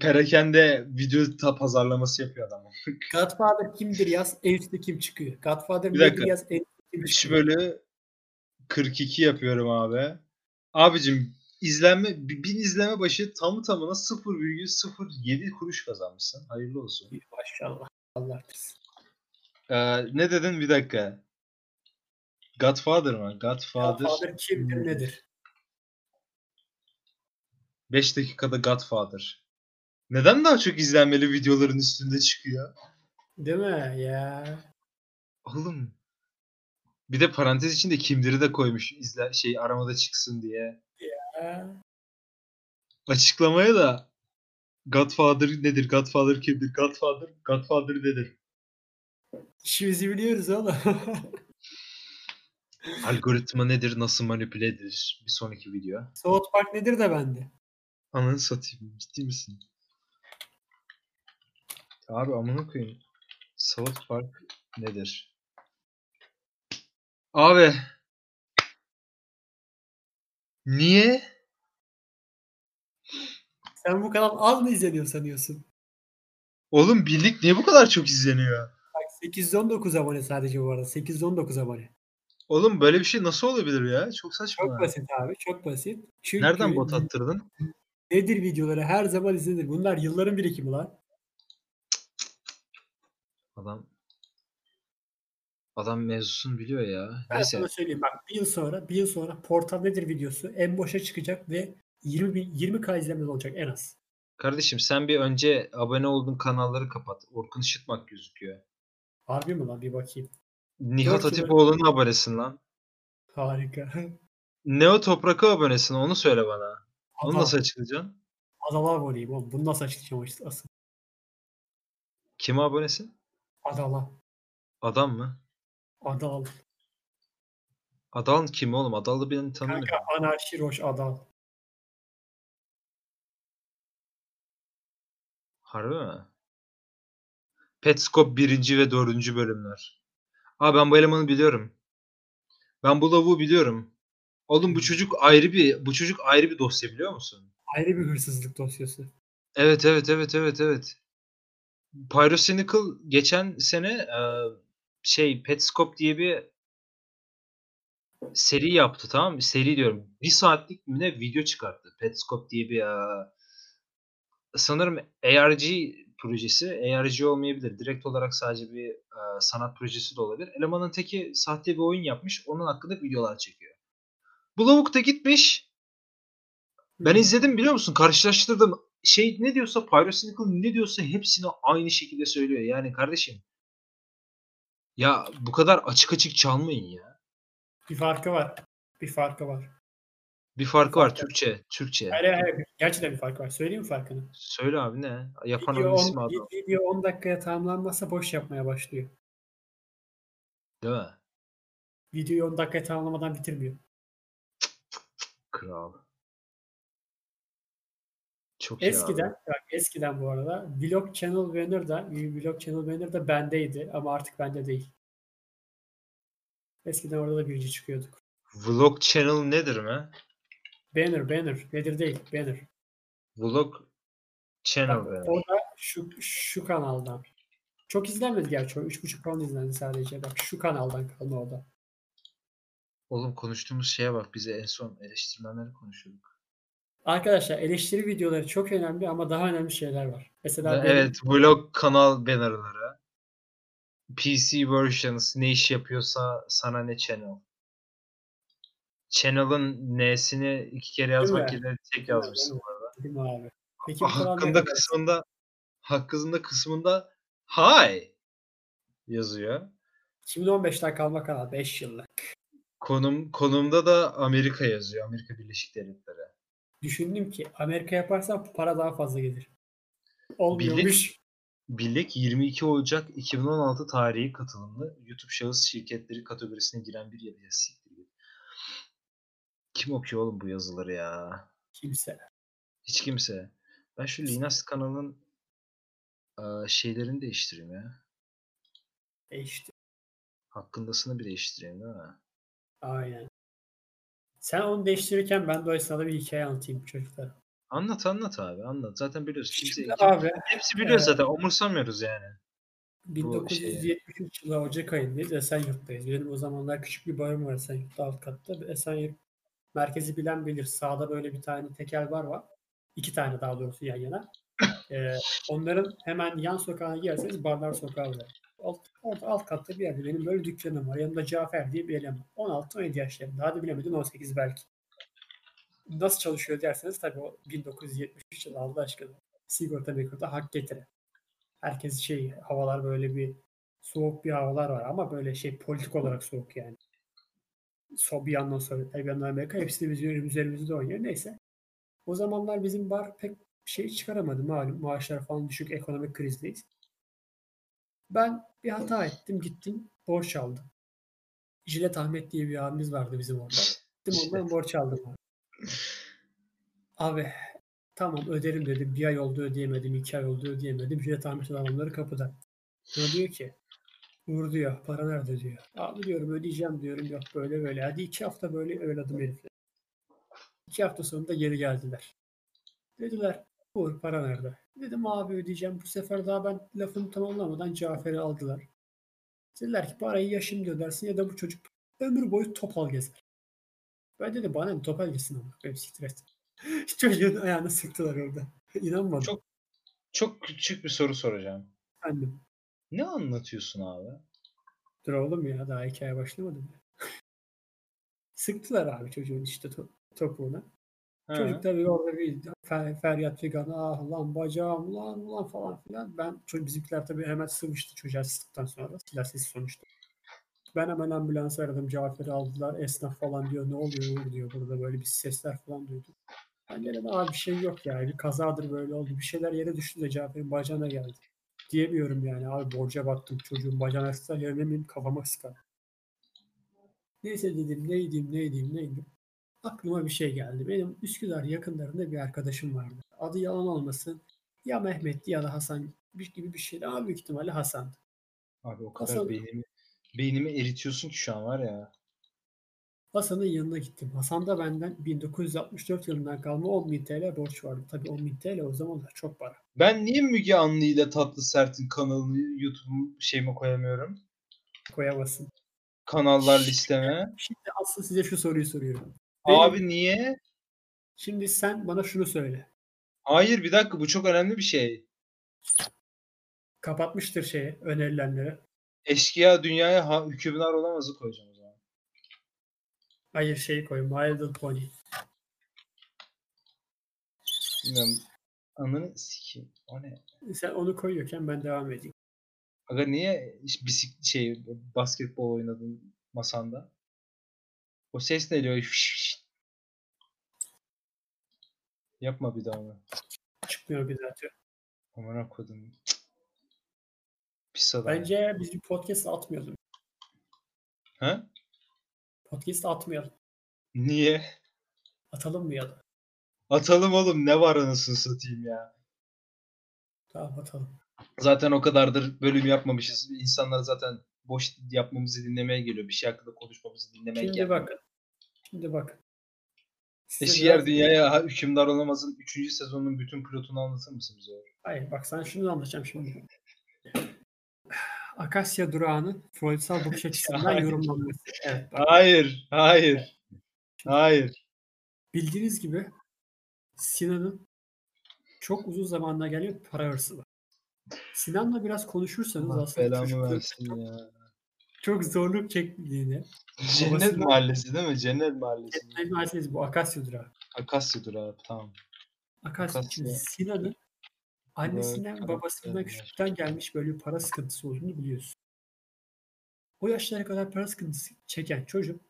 S2: Perakende video ta pazarlaması yapıyor adam.
S1: Godfather kimdir yaz. En üstte kim çıkıyor. Godfather
S2: Bir
S1: nedir
S2: dakika. şey
S1: yaz. En üstte kim
S2: 3
S1: çıkıyor.
S2: bölü 42 yapıyorum abi. Abicim izlenme bi- bin izlenme başı tamı tamına 0,07 kuruş kazanmışsın. Hayırlı olsun.
S1: Maşallah. Allah artırsın.
S2: Ee, ne dedin bir dakika? Godfather mı? Godfather.
S1: Godfather kimdir
S2: Hmm.
S1: nedir?
S2: 5 dakikada Godfather. Neden daha çok izlenmeli videoların üstünde çıkıyor?
S1: Değil mi? Ya.
S2: Oğlum. Bir de parantez içinde kimleri de koymuş izle şey aramada çıksın diye.
S1: Ya.
S2: açıklamaya da Godfather nedir? Godfather kimdir? Godfather, Godfather nedir?
S1: İşimizi biliyoruz oğlum.
S2: Algoritma nedir? Nasıl manipüle edilir? Bir sonraki video.
S1: South Park nedir de bende.
S2: Ananı satayım. Ciddi misin? Abi amına koyayım. South Park nedir? Abi. Niye?
S1: Sen bu kanal az mı izleniyor sanıyorsun?
S2: Oğlum birlik niye bu kadar çok izleniyor?
S1: Bak 819 abone sadece bu arada. 819 abone.
S2: Oğlum böyle bir şey nasıl olabilir ya? Çok saçma.
S1: Çok basit abi. Çok basit. Çünkü
S2: Nereden bot attırdın?
S1: Nedir videoları her zaman izlenir. Bunlar yılların birikimi lan.
S2: Adam adam mevzusunu biliyor ya.
S1: Ben
S2: Neyse.
S1: sana söyleyeyim bak bir yıl sonra bir yıl sonra portal nedir videosu en boşa çıkacak ve 20 bin, 20k izlenmeli olacak en az.
S2: Kardeşim sen bir önce abone olduğun kanalları kapat. Orkun Işıtmak gözüküyor.
S1: Harbi mi lan bir bakayım.
S2: Nihat
S1: Dört yıl
S2: Hatipoğlu'na abonesin lan.
S1: Harika.
S2: Neo Toprak'a abonesin onu söyle bana. Onu
S1: Adam-
S2: nasıl açıklayacaksın?
S1: Adalı aboneyim oğlum. Bunu nasıl açıklayacağım işte asıl.
S2: Kime abonesin?
S1: Adala.
S2: Adam mı?
S1: Adal.
S2: Adal kim oğlum? Adal'ı birini tanımıyorum.
S1: Kanka anarşi roş adal.
S2: Harbi mi? Petscope 1. ve 4. bölümler. Aa ben bu elemanı biliyorum. Ben bu lavuğu biliyorum. Oğlum bu çocuk ayrı bir bu çocuk ayrı bir dosya biliyor musun?
S1: Ayrı bir hırsızlık dosyası.
S2: Evet evet evet evet evet. Pyrocynical geçen sene e, şey Petscope diye bir seri yaptı tamam mı? Seri diyorum. Bir saatlik mi ne video çıkarttı. Petscope diye bir e, sanırım ARG projesi. ARG olmayabilir. Direkt olarak sadece bir e, sanat projesi de olabilir. Elemanın teki sahte bir oyun yapmış. Onun hakkında videolar çekiyor. Bu lavuk da gitmiş. Ben
S1: Hı.
S2: izledim biliyor musun? Karşılaştırdım. Şey ne diyorsa Pyrocynical ne diyorsa hepsini aynı şekilde söylüyor. Yani kardeşim. Ya bu kadar açık açık çalmayın ya.
S1: Bir farkı var. Bir farkı var.
S2: Bir farkı var
S1: Fark yok.
S2: Türkçe. Türkçe.
S1: Hayır hayır. hayır. Gerçekten bir farkı var. Söyleyeyim mi farkını?
S2: Söyle abi ne? Yapan
S1: Video
S2: onun ismi
S1: 10,
S2: adam.
S1: video 10 dakikaya tamamlanmazsa boş yapmaya başlıyor.
S2: Değil mi?
S1: Videoyu 10 dakikaya tamamlamadan bitirmiyor.
S2: Kral. Çok iyi
S1: Eskiden,
S2: abi.
S1: bak eskiden bu arada Vlog Channel Banner'da, Vlog Channel Banner'da bendeydi ama artık bende değil. Eskiden orada da birinci çıkıyorduk.
S2: Vlog channel nedir mi?
S1: Banner, banner. Nedir değil, banner.
S2: Vlog channel.
S1: Bak,
S2: be.
S1: o da şu, şu kanaldan. Çok izlenmedi gerçi o. 3,5 falan izlendi sadece. Bak şu kanaldan kalma o da.
S2: Oğlum konuştuğumuz şeye bak. Bize en son eleştirmenleri konuşuyorduk.
S1: Arkadaşlar eleştiri videoları çok önemli ama daha önemli şeyler var. Mesela benim-
S2: evet. Vlog kanal bannerları. PC versions ne iş yapıyorsa sana ne channel. Channel'ın N'sini iki kere yazmak
S1: mi?
S2: yerine tek
S1: mi?
S2: yazmışsın.
S1: Değil
S2: bu arada.
S1: Değil mi abi? Peki bu kanal ne
S2: Ah, Hakkında
S1: kadar-
S2: kısmında hakkında kısmında hi yazıyor.
S1: 2015'ten kalma kanal 5 yıllık.
S2: Konum konumda da Amerika yazıyor. Amerika Birleşik Devletleri.
S1: Düşündüm ki Amerika yaparsam para daha fazla gelir. Olmuyormuş.
S2: Birlik 22 Ocak 2016 tarihi katılımlı YouTube şahıs şirketleri kategorisine giren bir yazı. Ya siktir git. Kim okuyor oğlum bu yazıları ya?
S1: Kimse.
S2: Hiç kimse. Ben şu Linas kanalının eee, şeylerini değiştireyim ya.
S1: Değişti.
S2: Hakkındasını bir değiştireyim değil mi?
S1: Aynen. Sen onu değiştirirken ben de o esnada bir hikaye anlatayım çocuklara.
S2: Anlat anlat abi anlat. Zaten biliyoruz. Kimse,
S1: Şimdi
S2: kim-
S1: abi
S2: hepsi biliyor
S1: eee,
S2: zaten. Umursamıyoruz yani.
S1: 1973 yılı Ocak ayındayız. Esenyurt'tayız. Benim o zamanlar küçük bir barım var Esenyurt'ta alt katta. Esenyurt merkezi bilen bilir. Sağda böyle bir tane tekel bar var. İki tane daha doğrusu yan yana. Ee, onların hemen yan sokağına girerseniz Barlar Sokağı var. Alt, orada alt katta bir yerde benim böyle dükkanım var. Yanımda Cafer diye bir eleman. 16-17 yaşlarında. Hadi bilemedin 18 belki. Nasıl çalışıyor derseniz tabii o 1973 yılı Allah aşkına. Sigorta mikrota hak getire. Herkes şey havalar böyle bir soğuk bir havalar var ama böyle şey politik olarak soğuk yani. So bir yandan Sovyetler bir yandan Amerika hepsi de bizim üzerimizde oynuyor. Neyse. O zamanlar bizim bar pek şey çıkaramadı malum. Maaşlar falan düşük ekonomik krizdeyiz. Ben bir hata ettim gittim borç aldım. Jilet Ahmet diye bir abimiz vardı bizim orada. Gittim ondan borç aldım. abi. Abi tamam öderim dedim. Bir ay oldu ödeyemedim. iki ay oldu ödeyemedim. Jilet Ahmet'in adamları kapıda. Sonra diyor ki Uğur diyor para nerede diyor. Abi diyorum ödeyeceğim diyorum yok böyle böyle. Hadi iki hafta böyle oynadım herifle. İki hafta sonunda geri geldiler. Dediler Uğur para nerede? Dedim abi ödeyeceğim. Bu sefer daha ben lafımı tamamlamadan Cafer'i aldılar. Dediler ki parayı ya şimdi ödersin ya da bu çocuk ömür boyu topal gezer. Ben dedim bana ne topal gezsin ama benim siktir et. Çocuğun ayağını sıktılar orada. İnanmadım.
S2: Çok- Çok küçük bir soru soracağım.
S1: Efendim.
S2: Ne anlatıyorsun abi?
S1: Dur oğlum ya daha hikaye başlamadı mı? Sıktılar abi çocuğun işte to- topuğuna.
S2: He.
S1: Çocuk tabii orada bir fer- feryat figan ah lan bacağım lan lan falan filan. Ben çocuk bizimkiler tabii hemen sıvıştı çocuğa sıktıktan sonra silah sesi sonuçta. Ben hemen ambulansı aradım Cafer'i aldılar esnaf falan diyor ne oluyor Uğur?" diyor burada böyle bir sesler falan duydum. Ben gene de abi bir şey yok yani bir kazadır böyle oldu bir şeyler yere düştü de Cafer'in bacağına geldi. Diyemiyorum yani abi borca battım çocuğun bacağına sıkar yerine benim kafama sıkar. Neyse dedim ne edeyim ne edeyim ne edeyim aklıma bir şey geldi. Benim Üsküdar yakınlarında bir arkadaşım vardı. Adı yalan olmasın. Ya Mehmet'ti ya da Hasan bir- gibi bir şeydi ama büyük ihtimalle Hasan'dı.
S2: Abi o kadar
S1: Hasan-
S2: beynimi, beynimi eritiyorsun ki şu an var ya.
S1: Hasan'ın yanına gittim. Hasan'da benden 1964 yılından kalma 10.000 TL borç vardı. Tabii 10.000 TL o zamanlar çok para.
S2: Ben niye Müge Anlı ile Tatlı Sert'in kanalını YouTube şeyime koyamıyorum?
S1: Koyamazsın.
S2: Kanallar listeme.
S1: Şimdi aslında size şu soruyu soruyorum. Benim-
S2: Abi niye?
S1: Şimdi sen bana şunu söyle.
S2: Hayır bir dakika bu çok önemli bir şey.
S1: Kapatmıştır şeyi önerilenleri.
S2: Eşkıya dünyaya ha, hükümdar olamazı koyacağım o zaman.
S1: Hayır şeyi koy. My Little Pony.
S2: Bilmiyorum. Ananı sikeyim. O ne?
S1: E, Sen onu koyuyorken ben devam edeyim.
S2: Aga niye hiç bisik şey basketbol oynadın masanda? O ses ne diyor? Şşş, şşş. Yapma bir daha onu.
S1: Çıkmıyor bir daha. diyor.
S2: Amına kodum. Cık. Pis adam.
S1: Bence biz bir podcast atmayalım.
S2: Ha?
S1: Podcast atmayalım.
S2: Niye?
S1: Atalım mı ya da?
S2: Atalım oğlum ne var anasını satayım ya.
S1: Tamam atalım.
S2: Zaten o kadardır bölüm yapmamışız. İnsanlar zaten boş yapmamızı dinlemeye geliyor. Bir şey hakkında konuşmamızı dinlemeye
S1: Şimdi
S2: geliyor.
S1: bakın. Şimdi bakın. Size
S2: Eşiyer
S1: biraz-
S2: Dünya'ya Ha- Hükümdar Olamaz'ın 3. sezonun bütün pilotunu anlatır mısın bize?
S1: Hayır bak sana şunu anlatacağım şimdi. Akasya durağının Freudsal bakış açısından
S2: Hayır.
S1: yorumlanması. Evet bak.
S2: Hayır, hayır. Hayır.
S1: Bildiğiniz gibi Sinan'ın çok uzun zamandan gelen bir para hırsı var. Sinan'la biraz konuşursanız
S2: Allah
S1: aslında
S2: belamı
S1: çocukların
S2: versin ya.
S1: çok zorluk çektiğini,
S2: Cennet
S1: Babasının-
S2: Mahallesi değil mi? Cennet Mahallesi.
S1: Bilmezseniz bu Akasya durağı.
S2: Akasya'dır abi tamam.
S1: Akarsu
S2: Akasya.
S1: şimdi Sinan'ın annesinden
S2: karakterler.
S1: babasından küçükten gelmiş böyle bir para sıkıntısı olduğunu biliyorsun. O yaşlara kadar para sıkıntısı çeken çocuk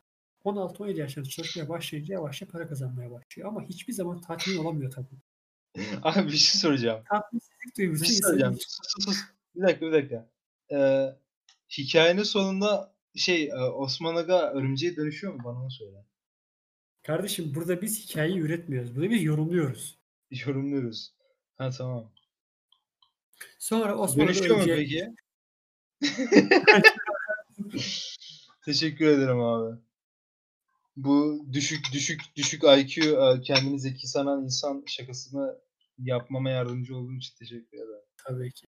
S1: 16-17 yaşlarında çalışmaya başlayınca yavaşça para kazanmaya başlıyor. Ama hiçbir zaman tatmin olamıyor tabii.
S2: Abi bir şey soracağım.
S1: Tatminsizlik
S2: Bir
S1: duygusu
S2: şey
S1: insanın
S2: soracağım.
S1: hiç-
S2: Sus, sus, sus. Bir dakika bir dakika. Ee, hikayenin sonunda şey e, Osman Aga örümceğe dönüşüyor mu? Bana onu söyle.
S1: Kardeşim burada biz hikayeyi üretmiyoruz. Burada biz yorumluyoruz.
S2: Yorumluyoruz. Ha tamam.
S1: Sonra Osman Aga
S2: Dönüşüyor mu
S1: önce
S2: peki? Teşekkür ederim abi. Bu düşük düşük düşük IQ e, kendini zeki sanan insan şakasını yapmama yardımcı olduğun için teşekkür ederim.
S1: tabii ki.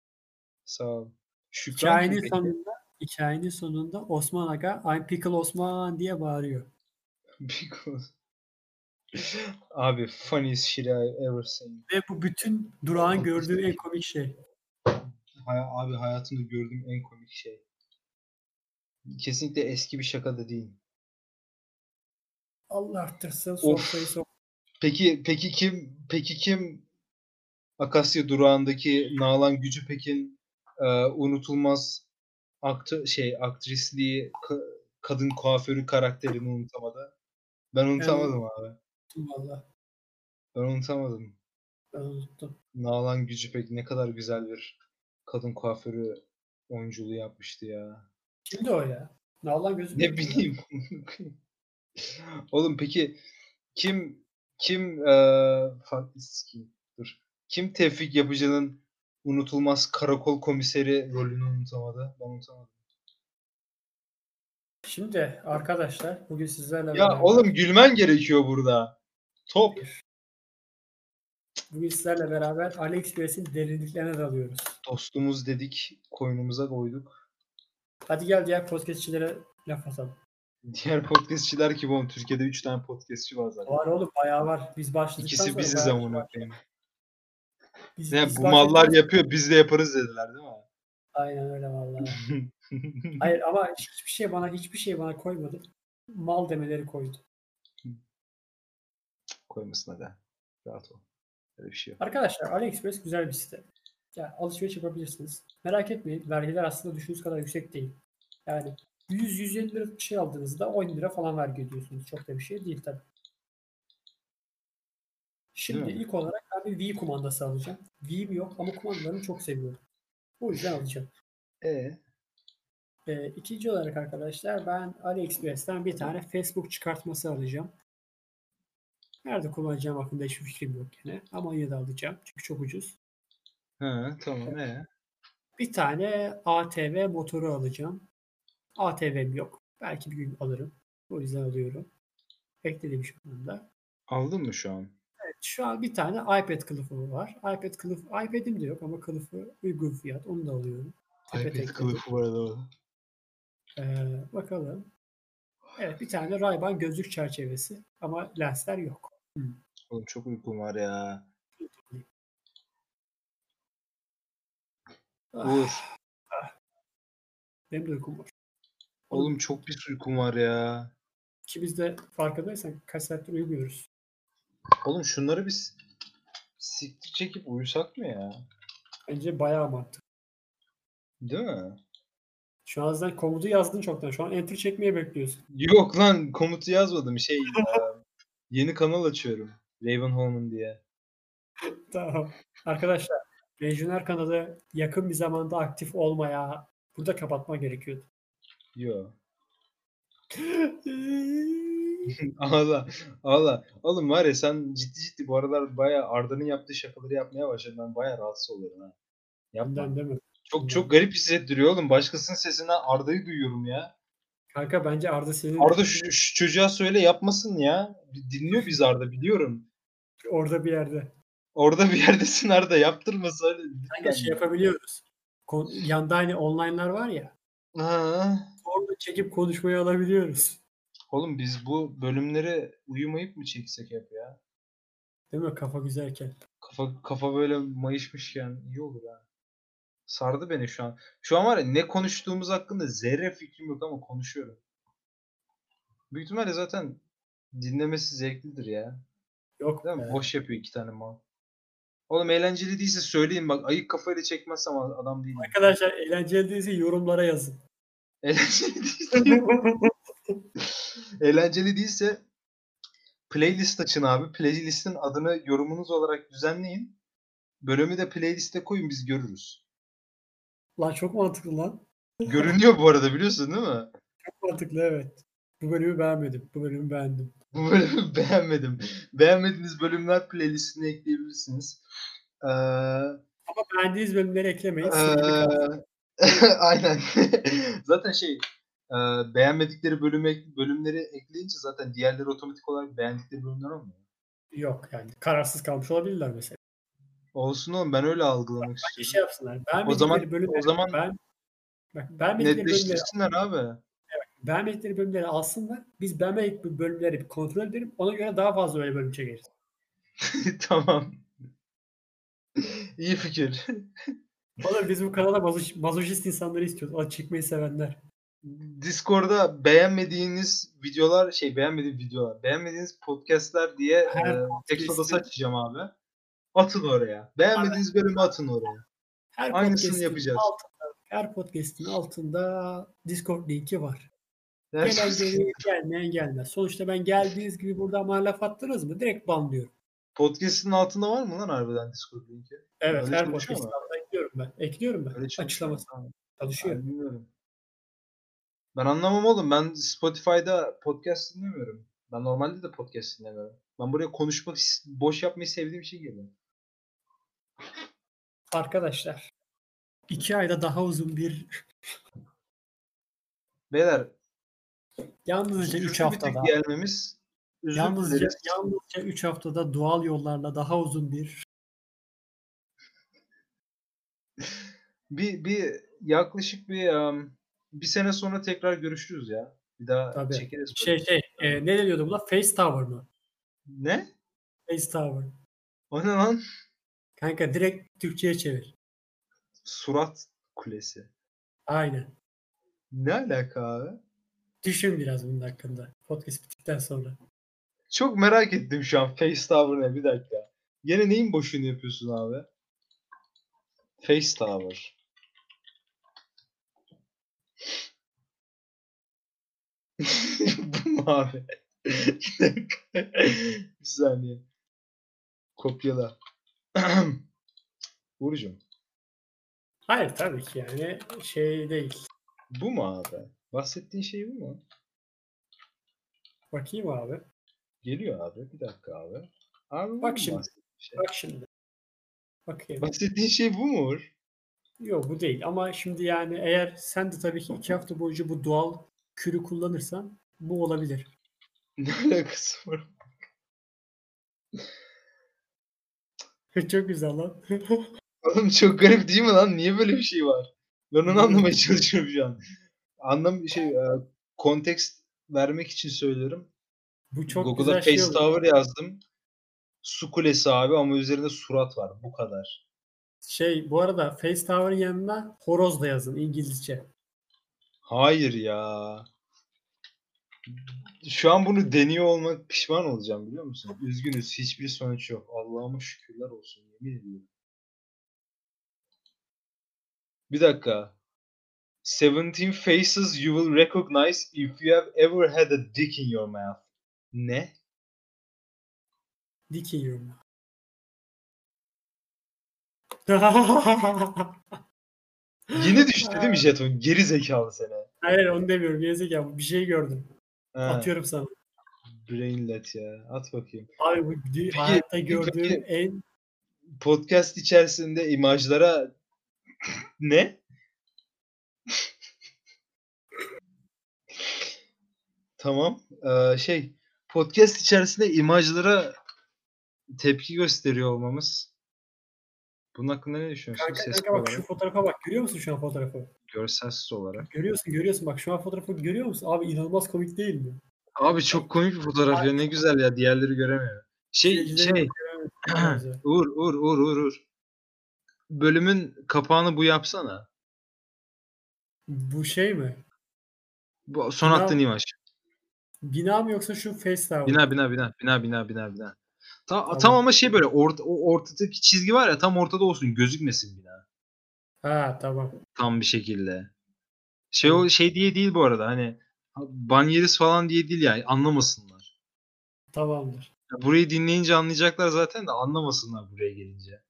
S2: Sağ ol. Şükran
S1: Hikayenin
S2: peki.
S1: sonunda hikayenin sonunda Osman Aga I'm Pickle Osman diye bağırıyor.
S2: Because- Abi funniest shit I ever seen.
S1: Ve bu bütün durağın gördüğü en komik şey.
S2: Hay- abi hayatımda gördüğüm en komik şey. Kesinlikle eski bir şaka da değil.
S1: Allah arttırsın
S2: Of.
S1: sofrayı sok.
S2: Peki peki kim peki kim Akasya durağındaki Nalan Gücüpek'in e, unutulmaz aktı şey aktrisliği ka- kadın kuaförü karakterini unutamadı. Ben unutamadım abi.
S1: Valla
S2: Ben unutamadım.
S1: ben unuttum.
S2: Nalan Gücüpek ne kadar güzel bir kadın kuaförü oyunculuğu yapmıştı ya.
S1: Kimdi o ya? Nalan gözü
S2: Ne bileyim. Oğlum peki kim kim eee farklı sikeyim, dur. Kim Tevfik Yapıcı'nın unutulmaz karakol komiseri rolünü unutamadı? Ben unutamadım.
S1: Şimdi arkadaşlar bugün sizlerle
S2: Ya oğlum gülmen gerekiyor burada. Top.
S1: bugün sizlerle beraber AliExpress'in derinliklerine dalıyoruz.
S2: Dostumuz dedik. Koynumuza koyduk.
S1: Hadi gel diğer podcastçilere laf atalım.
S2: Diğer podcastçiler ki oğlum Türkiye'de 3 tane podcastçi var zaten.
S1: Var oğlum bayağı var. Biz başladıktan
S2: İkisi
S1: sonra
S2: biziz
S1: bayağı-
S2: amına koyayım.
S1: Biz-
S2: Ne
S1: biz
S2: bu
S1: başladıktan
S2: mallar
S1: sonra-
S2: yapıyor biz de yaparız dediler değil mi?
S1: Aynen öyle vallahi. Hayır ama hiçbir şey bana hiçbir şey bana koymadı. Mal demeleri koydu.
S2: koymasına da. Rahat ol. Öyle bir şey yok.
S1: Arkadaşlar AliExpress güzel bir site. Yani alışveriş yapabilirsiniz. Merak etmeyin vergiler aslında düşündüğünüz kadar yüksek değil. Yani 100-150 lira bir şey aldığınızda 10 lira falan vergi ödüyorsunuz. Çok da bir şey değil tabii. Şimdi
S2: Değil mi?
S1: ilk olarak ben bir V kumandası alacağım. V'm yok ama kumandalarını çok seviyorum. O yüzden alacağım.
S2: E
S1: Ee, ikinci olarak arkadaşlar ben AliExpress'ten bir tane Facebook çıkartması alacağım. Nerede kullanacağım hakkında hiçbir fikrim yok gene. Ama yine de alacağım. Çünkü çok ucuz.
S2: ha, tamam e.
S1: Bir tane ATV motoru alacağım. ATV'm yok. Belki bir gün alırım. O yüzden alıyorum. Bekledim şu anda.
S2: Aldın mı şu an?
S1: Evet, şu an bir tane iPad kılıfı var. iPad kılıf, iPad'im de yok ama kılıfı uygun fiyat. Onu da alıyorum. Tepe
S2: iPad
S1: tek.
S2: kılıfı var arada.
S1: Ee, bakalım. Evet bir tane Ray-Ban gözlük çerçevesi ama lensler yok.
S2: Oğlum çok uykum var ya.
S1: Ah,
S2: Uğur.
S1: benim de uykum var.
S2: Oğlum çok pis uykum var ya.
S1: Ki biz de farkındaysan kaç saattir uyumuyoruz.
S2: Oğlum şunları biz siktir çekip uyusak mı ya?
S1: Bence bayağı mantıklı.
S2: Değil mi?
S1: Şu an zaten komutu yazdın çoktan. Şu an enter çekmeye bekliyorsun.
S2: Yok lan komutu yazmadım şey. ya, yeni kanal açıyorum. Raven Holman diye.
S1: Tamam. Arkadaşlar Lejyoner kanalı yakın bir zamanda aktif olmaya burada kapatma gerekiyordu.
S2: Yo. Ağla. Ağla. Oğlum var ya sen ciddi ciddi bu aralar baya Arda'nın yaptığı şakaları yapmaya başladın. Ben baya rahatsız oluyorum ha. Yapma.
S1: Benden deme.
S2: Çok çok garip hissettiriyor oğlum. Başkasının sesinden Arda'yı duyuyorum ya.
S1: Kanka bence Arda senin
S2: Arda şu, şu çocuğa söyle yapmasın ya. Bir Dinliyor biz Arda biliyorum.
S1: orada bir yerde.
S2: Orada bir yerdesin Arda yaptırma söyle.
S1: Kanka şey yapabiliyoruz. Kon- Yanda hani online'lar var ya.
S2: Ha.
S1: Orada çekip konuşmayı alabiliyoruz.
S2: Oğlum biz bu bölümleri uyumayıp mı çeksek hep ya?
S1: Değil mi? Kafa güzelken.
S2: Kafa kafa böyle mayışmışken iyi olur ha. Sardı beni şu an. Şu an var ya ne konuştuğumuz hakkında zerre fikrim yok ama konuşuyorum. Büyük ihtimalle zaten dinlemesi zevklidir ya.
S1: Yok
S2: Değil mi?
S1: be.
S2: Boş yapıyor iki tane mal. Oğlum eğlenceli değilse söyleyin bak ayık kafayla çekmezsem adam değilim.
S1: Arkadaşlar eğlenceli değilse yorumlara yazın.
S2: Eğlenceli değilse, eğlenceli değilse playlist açın abi. Playlist'in adını yorumunuz olarak düzenleyin. Bölümü de playlist'e koyun biz görürüz.
S1: lan çok mantıklı lan.
S2: Görünüyor bu arada biliyorsun değil mi?
S1: Çok mantıklı evet. Bu bölümü beğenmedim. Bu bölümü beğendim.
S2: Bu bölümü beğenmedim. Beğenmediğiniz bölümler playlistine ekleyebilirsiniz. Ee,
S1: Ama beğendiğiniz bölümleri eklemeyin.
S2: ee, aynen. zaten şey e, beğenmedikleri bölüme, bölümleri ekleyince zaten diğerleri otomatik olarak beğendikleri bölümler olmuyor.
S1: Yok yani. Kararsız kalmış olabilirler mesela.
S2: Olsun oğlum ben öyle algılamak
S1: Bir
S2: istiyorum.
S1: şey yapsınlar. Beğenmedikleri
S2: O zaman-
S1: bölümleri,
S2: o zaman-
S1: ben, bak, beğenmedikleri bölümleri,
S2: Netleştirsinler abi.
S1: beğenmedikleri bölümleri alsınlar. Biz beğenmedik bu bölümleri bir kontrol edelim. Ona göre daha fazla öyle bölüm çekeriz.
S2: tamam. İyi fikir.
S1: Oğlum biz bu kanala mazoş, mazoşist insanları istiyoruz. O çekmeyi sevenler.
S2: Discord'da beğenmediğiniz videolar şey beğenmediğim videolar beğenmediğiniz podcastler diye
S1: Her
S2: e, text odası
S1: podcast'in-
S2: açacağım abi. Atın oraya. Beğenmediğiniz bölümü atın oraya.
S1: Her
S2: Aynısını
S1: podcast'in
S2: yapacağız.
S1: Altında, her podcast'in altında Discord linki var. Gelen
S2: Yani
S1: gelir, gelmeyen gelmez. Sonuçta ben geldiğiniz gibi burada bana laf attınız mı direkt banlıyorum.
S2: Podcast'in altında var mı lan harbiden Discord linki?
S1: Evet
S2: Öyle
S1: her
S2: çalışıyor
S1: podcast'in altına ekliyorum ben. Ekliyorum ben.
S2: Öyle çalışıyor.
S1: Açıklaması
S2: Tamam.
S1: çalışıyor.
S2: Ben bilmiyorum. Ben anlamam oğlum. Ben Spotify'da podcast dinlemiyorum. Ben normalde de podcast dinlemiyorum. Ben buraya konuşmak, boş yapmayı sevdiğim için geldim.
S1: Arkadaşlar iki ayda daha uzun bir
S2: Beyler,
S1: yalnızca
S2: sürçülü bir
S1: 3
S2: tek
S1: haftada
S2: gelmemiz özür
S1: yalnızca,
S2: dileriz.
S1: yalnızca 3 haftada doğal yollarla daha uzun bir
S2: bir bir yaklaşık bir um, bir sene sonra tekrar görüşürüz ya. Bir daha
S1: Tabii.
S2: çekeriz.
S1: şey
S2: böyle.
S1: şey e, ne deniyordu buna? Face Tower mı?
S2: Ne?
S1: Face Tower.
S2: O ne lan?
S1: Kanka direkt Türkçe'ye çevir.
S2: Surat kulesi.
S1: Aynen.
S2: Ne alaka abi?
S1: Düşün biraz bunun hakkında. Podcast bittikten sonra.
S2: Çok merak ettim şu an face tower ne bir dakika. Gene neyin boşluğunu yapıyorsun abi? Face tower. Bu mu abi? bir dakika. bir saniye. Kopyala. Uğur'cum.
S1: Hayır tabii ki yani şey değil.
S2: Bu mu abi? Bahsettiğin şey bu mu?
S1: Bakayım abi.
S2: Geliyor abi. Bir dakika abi. Abi bu
S1: Bak
S2: mu
S1: şimdi.
S2: bahsettiğin şey?
S1: Bak şimdi. Bakayım.
S2: Bahsettiğin şey bu mu Uğur?
S1: Yok bu değil ama şimdi yani eğer sen de tabii ki iki hafta boyunca bu doğal kürü kullanırsan bu olabilir.
S2: Ne alakası var?
S1: Çok güzel lan.
S2: Oğlum çok garip değil mi lan? Niye böyle bir şey var? Ben onu
S1: Bilmiyorum.
S2: anlamaya çalışıyorum şu an. Anlam şey e, kontekst vermek için söylüyorum.
S1: Bu çok
S2: Google'a
S1: güzel şey
S2: Face
S1: oldu.
S2: Tower yazdım. Su kulesi abi ama üzerinde surat var. Bu kadar.
S1: Şey bu arada Face Tower'ın yanına horoz da yazın İngilizce.
S2: Hayır ya. Şu an bunu deniyor olmak pişman olacağım biliyor musun? Üzgünüz. Hiçbir sonuç yok. Allah'ıma şükürler olsun. Yemin ediyorum. Bir dakika. 17 faces you will recognize if you have ever had a dick in your mouth. Ne?
S1: Dick in your mouth.
S2: Yeni düştü değil mi jeton? Geri zekalı sene.
S1: Hayır onu demiyorum. Gerizekalı bir şey gördüm. Atıyorum sana.
S2: Brainlet ya. At bakayım.
S1: Abi bu di- hayatta gördüğüm
S2: peki-
S1: en
S2: Podcast içerisinde imajlara ne? tamam. Ee, şey podcast içerisinde imajlara tepki gösteriyor olmamız. Bunun hakkında ne düşünüyorsun?
S1: kanka,
S2: Sesli
S1: kanka bak şu
S2: olarak,
S1: fotoğrafa bak. Görüyor musun şu an fotoğrafı?
S2: görselsiz olarak.
S1: Görüyorsun görüyorsun bak şu an fotoğrafı görüyor musun? Abi inanılmaz komik değil mi?
S2: Abi çok komik bir fotoğraf ya. Ne güzel ya. Diğerleri göremiyor. Şey,
S1: Seyircilerin
S2: şey
S1: göremeyeceği.
S2: Uğur, Uğur, Uğur, Uğur, Uğur. Bölümün kapağını bu yapsana.
S1: bu şey mi?
S2: Bu son
S1: Bina-
S2: attığın imaj.
S1: Bina mı yoksa şu Face Tower?
S2: Bina bina bina bina bina bina bina. Ta-
S1: Tamam.
S2: Tam ama şey böyle orta, o ortadaki çizgi var ya tam ortada olsun gözükmesin bina.
S1: Ha tamam.
S2: Tam bir şekilde. Şey o şey diye değil bu arada hani banyeriz falan diye değil yani anlamasınlar.
S1: Tamamdır.
S2: Ya Burayı dinleyince anlayacaklar zaten de anlamasınlar buraya gelince.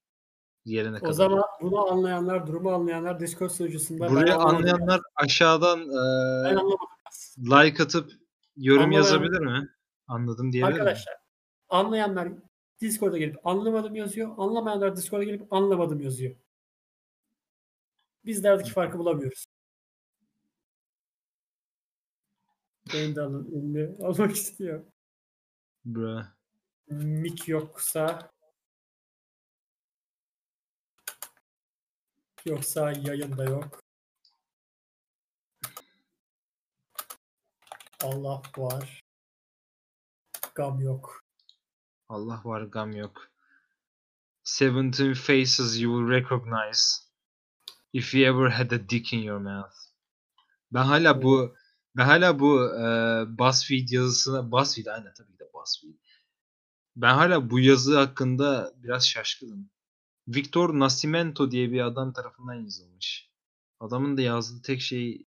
S2: Gelene kadar.
S1: O zaman bunu anlayanlar, durumu anlayanlar Discord sunucusunda
S2: burayı
S1: anlamadım.
S2: anlayanlar aşağıdan eee,
S1: Ben anlamadım.
S2: like atıp yorum
S1: Anlamayan-
S2: yazabilir mi? Anladım diyebilir mi?
S1: Arkadaşlar anlayanlar Discord'a gelip anlamadım yazıyor. Anlamayanlar Discord'a gelip anlamadım yazıyor. Biz de aradaki farkı bulamıyoruz. Benim de alın, ünlü almak istiyor.
S2: Bra.
S1: Mik yoksa yoksa yayında yok. Allah var. Gam yok.
S2: Allah var gam yok. 17 faces you will recognize if you ever had a dick in your mouth. Ben hala bu ben hala bu e, BuzzFeed yazısına BuzzFeed aynen tabii ki de BuzzFeed. Ben hala bu yazı hakkında biraz şaşkınım. Victor Nascimento diye bir adam tarafından yazılmış. Adamın da yazdığı tek şey